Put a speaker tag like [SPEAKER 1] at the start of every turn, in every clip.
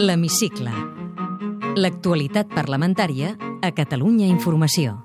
[SPEAKER 1] L'Hemicicle. L'actualitat parlamentària a Catalunya Informació.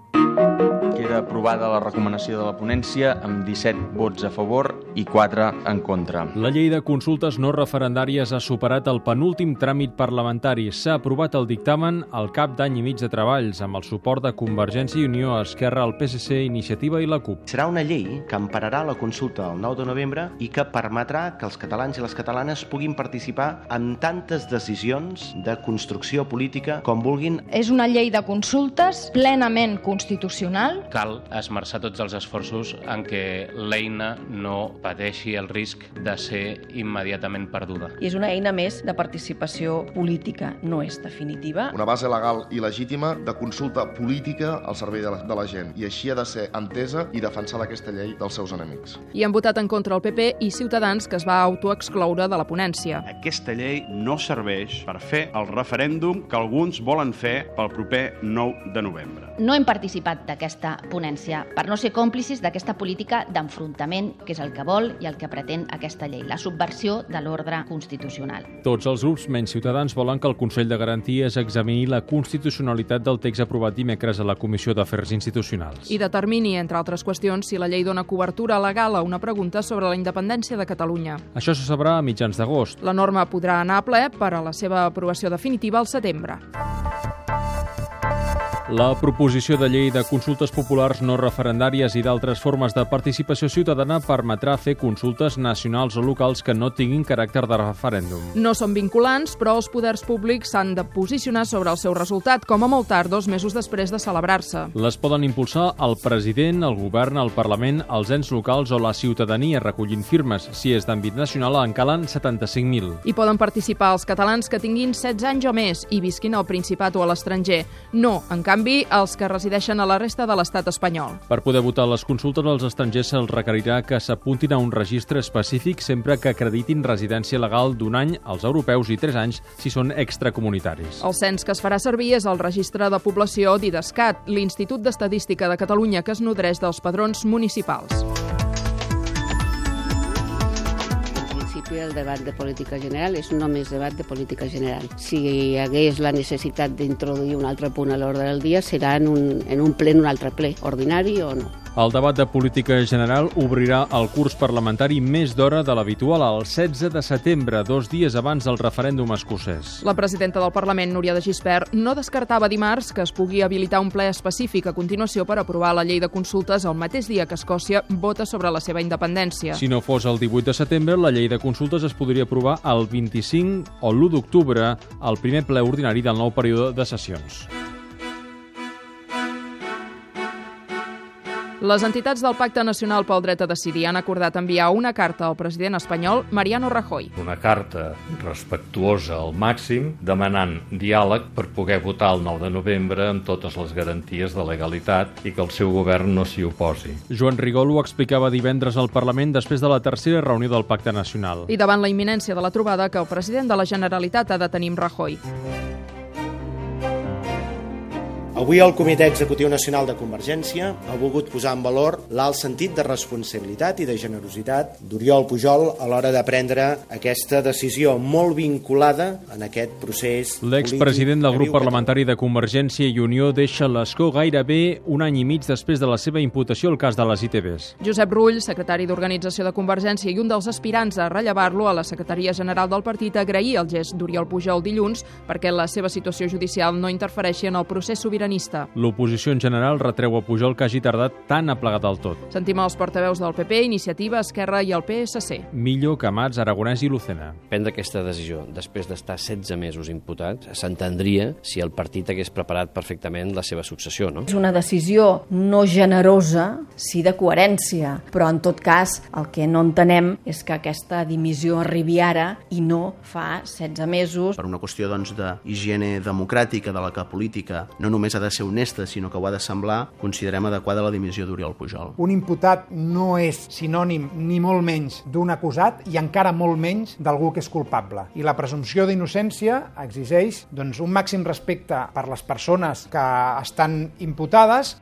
[SPEAKER 2] Queda aprovada la recomanació de la ponència amb 17 vots a favor i 4 en contra.
[SPEAKER 3] La llei de consultes no referendàries ha superat el penúltim tràmit parlamentari. S'ha aprovat el dictamen al cap d'any i mig de treballs, amb el suport de Convergència i Unió, Esquerra, el PSC, Iniciativa i la CUP.
[SPEAKER 4] Serà una llei que empararà la consulta el 9 de novembre i que permetrà que els catalans i les catalanes puguin participar en tantes decisions de construcció política com vulguin.
[SPEAKER 5] És una llei de consultes plenament constitucional.
[SPEAKER 6] Cal esmerçar tots els esforços en què l'eina no pateixi el risc de ser immediatament perduda.
[SPEAKER 7] I és una eina més de participació política, no és definitiva.
[SPEAKER 8] Una base legal i legítima de consulta política al servei de la, de la gent. I així ha de ser entesa i defensada aquesta llei dels seus enemics.
[SPEAKER 9] I han votat en contra el PP i Ciutadans, que es va autoexcloure de la ponència.
[SPEAKER 10] Aquesta llei no serveix per fer el referèndum que alguns volen fer pel proper 9 de novembre.
[SPEAKER 11] No hem participat d'aquesta ponència per no ser còmplices d'aquesta política d'enfrontament, que és el que vol i el que pretén aquesta llei, la subversió de l'ordre constitucional.
[SPEAKER 3] Tots els grups menys Ciutadans volen que el Consell de Garanties examini la constitucionalitat del text aprovat dimecres a la Comissió d'Afers Institucionals.
[SPEAKER 9] I determini, entre altres qüestions, si la llei dona cobertura legal a una pregunta sobre la independència de Catalunya.
[SPEAKER 3] Això se sabrà a mitjans d'agost.
[SPEAKER 9] La norma podrà anar a ple per a la seva aprovació definitiva al setembre.
[SPEAKER 3] La proposició de llei de consultes populars no referendàries i d'altres formes de participació ciutadana permetrà fer consultes nacionals o locals que no tinguin caràcter de referèndum.
[SPEAKER 9] No són vinculants, però els poders públics s'han de posicionar sobre el seu resultat, com a molt tard dos mesos després de celebrar-se.
[SPEAKER 3] Les poden impulsar el president, el govern, el Parlament, els ens locals o la ciutadania recollint firmes. Si és d'àmbit nacional, en calen 75.000.
[SPEAKER 9] Hi poden participar els catalans que tinguin 16 anys o més i visquin al Principat o a l'estranger. No, en canvi, canvi, els que resideixen a la resta de l'estat espanyol.
[SPEAKER 3] Per poder votar les consultes, als estrangers se'ls requerirà que s'apuntin a un registre específic sempre que acreditin residència legal d'un any als europeus i tres anys si són extracomunitaris.
[SPEAKER 9] El cens que es farà servir és el Registre de Població d'IDESCAT, l'Institut d'Estadística de Catalunya que es nodreix dels padrons municipals.
[SPEAKER 12] principi el debat de política general és només debat de política general. Si hi hagués la necessitat d'introduir un altre punt a l'ordre del dia, serà en un, en un ple, en un altre ple, ordinari o no.
[SPEAKER 3] El debat de política general obrirà el curs parlamentari més d'hora de l'habitual el 16 de setembre, dos dies abans del referèndum escocès.
[SPEAKER 9] La presidenta del Parlament, Núria de Gispert, no descartava dimarts que es pugui habilitar un ple específic a continuació per aprovar la llei de consultes el mateix dia que Escòcia vota sobre la seva independència.
[SPEAKER 3] Si no fos el 18 de setembre, la llei de consultes es podria aprovar el 25 o l'1 d'octubre, al primer ple ordinari del nou període de sessions.
[SPEAKER 9] Les entitats del Pacte Nacional pel Dret a Decidir han acordat enviar una carta al president espanyol Mariano Rajoy.
[SPEAKER 13] Una carta respectuosa al màxim, demanant diàleg per poder votar el 9 de novembre amb totes les garanties de legalitat i que el seu govern no s'hi oposi.
[SPEAKER 3] Joan Rigol ho explicava divendres al Parlament després de la tercera reunió del Pacte Nacional.
[SPEAKER 9] I davant la imminència de la trobada que el president de la Generalitat ha de tenir amb Rajoy.
[SPEAKER 14] Avui el Comitè Executiu Nacional de Convergència ha volgut posar en valor l'alt sentit de responsabilitat i de generositat d'Oriol Pujol a l'hora de prendre aquesta decisió molt vinculada en aquest procés
[SPEAKER 3] L'expresident del grup parlamentari de Convergència i Unió deixa l'escó gairebé un any i mig després de la seva imputació al cas de les ITVs.
[SPEAKER 9] Josep Rull, secretari d'Organització de Convergència i un dels aspirants a rellevar-lo a la Secretaria General del partit, agrair el gest d'Oriol Pujol dilluns perquè la seva situació judicial no interfereixi en el procés sobiranista sobiranista.
[SPEAKER 3] L'oposició en general retreu a Pujol que hagi tardat tan a plegar del tot.
[SPEAKER 9] Sentim els portaveus del PP, Iniciativa, Esquerra i el PSC.
[SPEAKER 3] Millo, Camats, Aragonès i Lucena.
[SPEAKER 15] Prendre aquesta decisió després d'estar 16 mesos imputat s'entendria si el partit hagués preparat perfectament la seva successió, no?
[SPEAKER 7] És una decisió no generosa, sí de coherència, però en tot cas el que no entenem és que aquesta dimissió arribi ara i no fa 16 mesos.
[SPEAKER 4] Per una qüestió doncs, d'higiene democràtica de la que política no només només ha de ser honesta, sinó que ho ha de semblar, considerem adequada la dimissió d'Oriol Pujol.
[SPEAKER 16] Un imputat no és sinònim ni molt menys d'un acusat i encara molt menys d'algú que és culpable. I la presumpció d'innocència exigeix doncs, un màxim respecte per les persones que estan imputades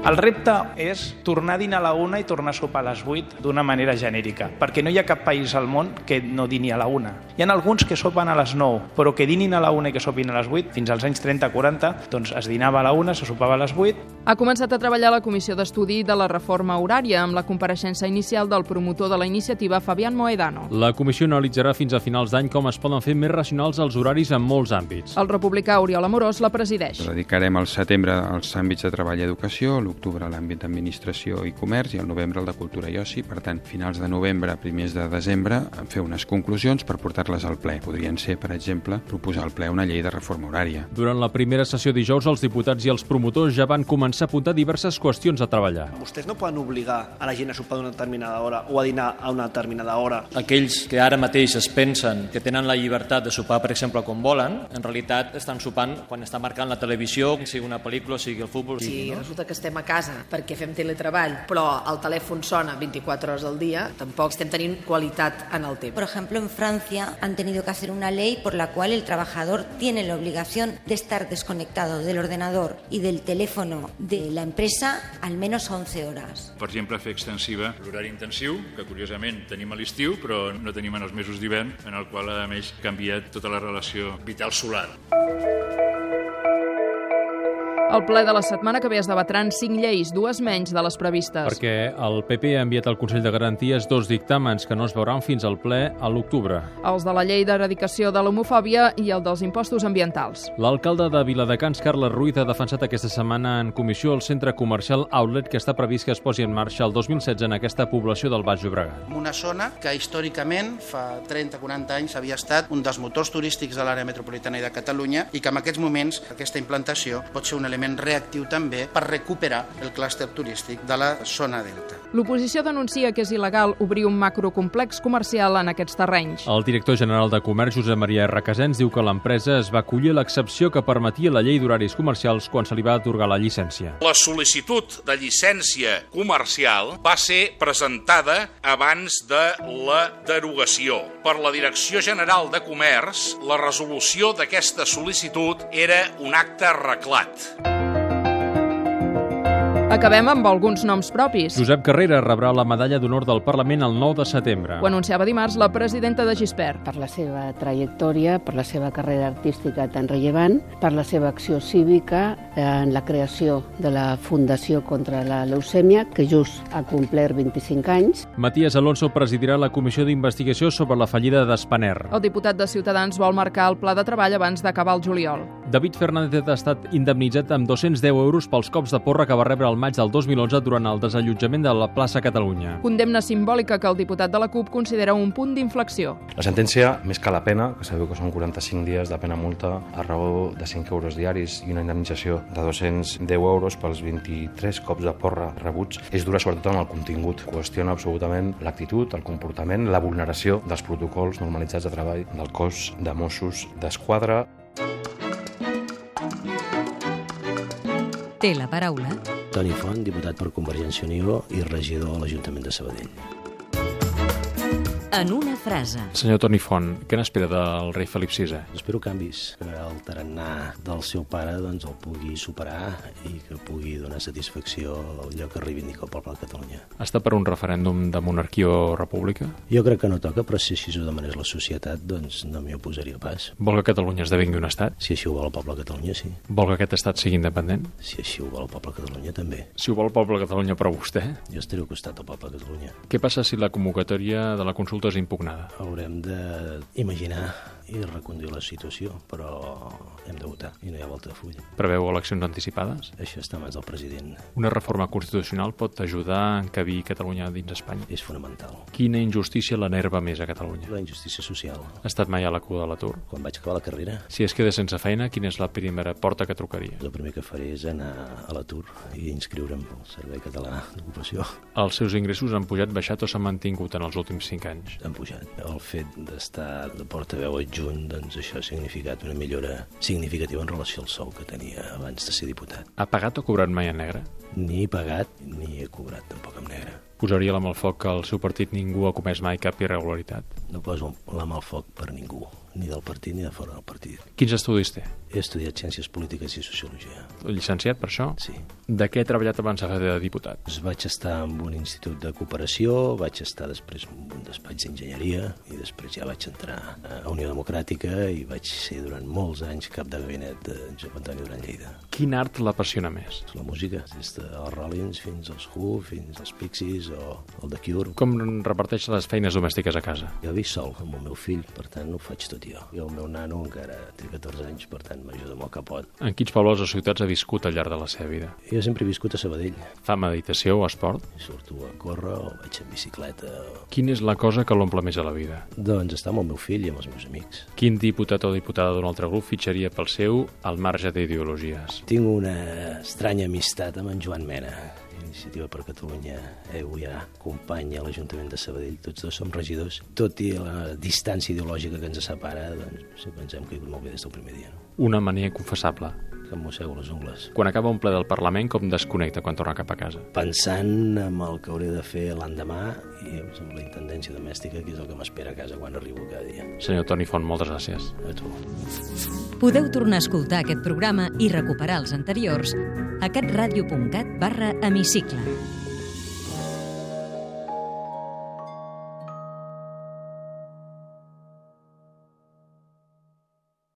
[SPEAKER 2] El repte és tornar a dinar a la una i tornar a sopar a les 8 d'una manera genèrica, perquè no hi ha cap país al món que no dini a la una. Hi ha alguns que sopen a les 9, però que dinin a la una i que sopin a les 8, fins als anys 30-40, doncs es dinava a la una, se sopava a les 8,
[SPEAKER 9] Ha començat a treballar la Comissió d'Estudi de la Reforma Horària amb la compareixença inicial del promotor de la iniciativa, Fabián Moedano.
[SPEAKER 3] La comissió analitzarà fins a finals d'any com es poden fer més racionals els horaris en molts àmbits.
[SPEAKER 9] El republicà Oriol Amorós la presideix.
[SPEAKER 17] Dedicarem al setembre als àmbits de treball i educació, a l'octubre a l'àmbit d'administració i comerç i al novembre al de cultura i oci. Per tant, finals de novembre, primers de desembre, fer unes conclusions per portar-les al ple. Podrien ser, per exemple, proposar al ple una llei de reforma horària.
[SPEAKER 3] Durant la primera sessió dijous, els diputats i els promotors ja van començar a apuntar diverses qüestions a treballar.
[SPEAKER 18] Vostès no poden obligar a la gent a sopar a una determinada hora o a dinar a una determinada hora.
[SPEAKER 19] Aquells que ara mateix es pensen que tenen la llibertat de sopar, per exemple, com volen, en realitat estan sopant quan està marcant la televisió, sigui una pel·lícula, sigui el futbol...
[SPEAKER 20] Si
[SPEAKER 19] sigui,
[SPEAKER 20] resulta que estem a casa perquè fem teletreball, però el telèfon sona 24 hores al dia, tampoc estem tenint qualitat en el temps.
[SPEAKER 1] Por ejemplo, en Francia han tenido que hacer una ley por la cual el trabajador tiene la obligación de estar desconectado del ordenador y del teléfono de la empresa al menos 11 horas.
[SPEAKER 21] Per exemple, fer extensiva l'horari intensiu, que curiosament tenim a l'estiu, però no tenim en els mesos d'hivern, en el qual, a més, canvia tota la relació vital solar.
[SPEAKER 9] El ple de la setmana que ve es debatran cinc lleis, dues menys de les previstes.
[SPEAKER 3] Perquè el PP ha enviat al Consell de Garanties dos dictàmens que no es veuran fins al ple a l'octubre.
[SPEAKER 9] Els de la llei d'eradicació de l'homofòbia i el dels impostos ambientals.
[SPEAKER 3] L'alcalde de Viladecans, Carles Ruiz, ha defensat aquesta setmana en comissió el centre comercial Outlet que està previst que es posi en marxa el 2016 en aquesta població del Baix Llobregat.
[SPEAKER 22] en una zona que històricament, fa 30-40 anys, havia estat un dels motors turístics de l'àrea metropolitana i de Catalunya i que en aquests moments aquesta implantació pot ser un element reactiu també per recuperar el clúster turístic de la zona delta.
[SPEAKER 9] L'oposició denuncia que és il·legal obrir un macrocomplex comercial en aquests terrenys.
[SPEAKER 3] El director general de Comerç, Josep Maria R. Casens, diu que l'empresa es va acollir a l'excepció que permetia la llei d'horaris comercials quan se li va atorgar la llicència.
[SPEAKER 23] La sol·licitud de llicència comercial va ser presentada abans de la derogació. Per la Direcció General de Comerç, la resolució d'aquesta sol·licitud era un acte arreglat.
[SPEAKER 9] Acabem amb alguns noms propis.
[SPEAKER 3] Josep Carrera rebrà la medalla d'honor del Parlament el 9 de setembre.
[SPEAKER 9] Ho anunciava dimarts la presidenta de Gispert.
[SPEAKER 12] Per la seva trajectòria, per la seva carrera artística tan rellevant, per la seva acció cívica eh, en la creació de la Fundació contra la Leucèmia, que just ha complert 25 anys.
[SPEAKER 3] Matías Alonso presidirà la comissió d'investigació sobre la fallida d'Espaner.
[SPEAKER 9] El diputat de Ciutadans vol marcar el pla de treball abans d'acabar el juliol.
[SPEAKER 3] David Fernández ha estat indemnitzat amb 210 euros pels cops de porra que va rebre el maig del 2011 durant el desallotjament de la plaça Catalunya.
[SPEAKER 9] Condemna simbòlica que el diputat de la CUP considera un punt d'inflexió.
[SPEAKER 24] La sentència, més que la pena, que sabeu que són 45 dies de pena multa a raó de 5 euros diaris i una indemnització de 210 euros pels 23 cops de porra rebuts, és dura sobretot en el contingut. Qüestiona absolutament l'actitud, el comportament, la vulneració dels protocols normalitzats de treball del cos de Mossos d'Esquadra.
[SPEAKER 25] Té la paraula
[SPEAKER 4] Toni Font, diputat per Convergència i Unió i regidor a l'Ajuntament de Sabadell.
[SPEAKER 25] en una frase.
[SPEAKER 4] Senyor Toni Font, què n'espera del rei Felip VI? Espero canvis, que el tarannà del seu pare doncs, el pugui superar i que pugui donar satisfacció al lloc que reivindica el poble de Catalunya.
[SPEAKER 24] Està per un referèndum de monarquia o república?
[SPEAKER 4] Jo crec que no toca, però si així ho demanés la societat, doncs no m'hi oposaria pas.
[SPEAKER 24] Vol que Catalunya esdevingui un estat?
[SPEAKER 4] Si així ho vol el poble de Catalunya, sí.
[SPEAKER 24] Vol que aquest estat sigui independent?
[SPEAKER 4] Si així ho vol el poble de Catalunya, també.
[SPEAKER 24] Si ho vol el poble de Catalunya, però vostè?
[SPEAKER 4] Jo estaré al costat del poble de Catalunya.
[SPEAKER 24] Què passa si la convocatòria de la consulta és impugnada?
[SPEAKER 4] Haurem d'imaginar i reconduir la situació, però hem de votar i no hi ha volta de full.
[SPEAKER 24] Preveu eleccions anticipades?
[SPEAKER 4] Això està a mans del president.
[SPEAKER 24] Una reforma constitucional pot ajudar a encabir Catalunya dins Espanya?
[SPEAKER 4] És fonamental.
[SPEAKER 24] Quina injustícia l'enerva més a Catalunya?
[SPEAKER 4] La injustícia social.
[SPEAKER 24] Ha estat mai a la cua de l'atur?
[SPEAKER 4] Quan vaig acabar la carrera,
[SPEAKER 24] Si es queda sense feina, quina és la primera porta que trucaria?
[SPEAKER 4] el primer que faré és anar a l'atur i inscriure'm al Servei Català d'Ocupació.
[SPEAKER 24] Els seus ingressos han pujat, baixat o s'han mantingut en els últims 5 anys?
[SPEAKER 4] Han pujat. El fet d'estar de portaveu adjunt, doncs això ha significat una millora significativa en relació al sou que tenia abans de ser diputat.
[SPEAKER 24] Ha pagat o cobrat mai en negre?
[SPEAKER 23] ni he pagat ni he cobrat tampoc amb negre.
[SPEAKER 3] Posaria la mà al foc que al seu partit ningú ha comès mai cap irregularitat.
[SPEAKER 23] No poso la mà al foc per ningú, ni del partit ni de fora del partit.
[SPEAKER 3] Quins estudis té?
[SPEAKER 23] He estudiat Ciències Polítiques i Sociologia.
[SPEAKER 3] Llicenciat per això?
[SPEAKER 23] Sí.
[SPEAKER 3] De què ha treballat abans de fer de diputat?
[SPEAKER 23] Doncs vaig estar en un institut de cooperació, vaig estar després en un despatx d'enginyeria i després ja vaig entrar a Unió Democràtica i vaig ser durant molts anys cap de gabinet de Josep Antoni Duran Lleida.
[SPEAKER 3] Quin art l'apassiona més?
[SPEAKER 23] La música, des dels Rollins fins als Who, fins als Pixies o el The Cure.
[SPEAKER 3] Com reparteix les feines domèstiques a casa?
[SPEAKER 23] Jo visc sol amb el meu fill, per tant ho faig tot jo. Jo el meu nano encara té 14 anys, per tant m'ajuda molt que pot.
[SPEAKER 3] En quins pobles o ciutats ha viscut al llarg de la seva vida?
[SPEAKER 23] Jo sempre he viscut a Sabadell.
[SPEAKER 3] Fa meditació o esport?
[SPEAKER 23] Surto a córrer o vaig en bicicleta. O...
[SPEAKER 3] Quina és la cosa que l'omple més a la vida?
[SPEAKER 23] Doncs estar amb el meu fill i amb els meus amics.
[SPEAKER 3] Quin diputat o diputada d'un altre grup fitxaria pel seu al marge d'ideologies?
[SPEAKER 23] Tinc una estranya amistat amb en Joan Mena. Iniciativa per Catalunya, EU ja, company a l'Ajuntament de Sabadell, tots dos som regidors. Tot i la distància ideològica que ens separa, doncs sempre ens hem caigut molt bé des del primer dia. No?
[SPEAKER 3] Una mania confessable.
[SPEAKER 23] Que em mossego les ungles.
[SPEAKER 3] Quan acaba un ple del Parlament, com desconnecta quan torna cap a casa?
[SPEAKER 23] Pensant en el que hauré de fer l'endemà i amb la intendència domèstica, que és el que m'espera a casa quan arribo cada dia.
[SPEAKER 3] Senyor Toni Font, moltes gràcies.
[SPEAKER 23] A tu.
[SPEAKER 1] Podeu tornar a escoltar aquest programa i recuperar els anteriors a catradio.cat barra hemicicle.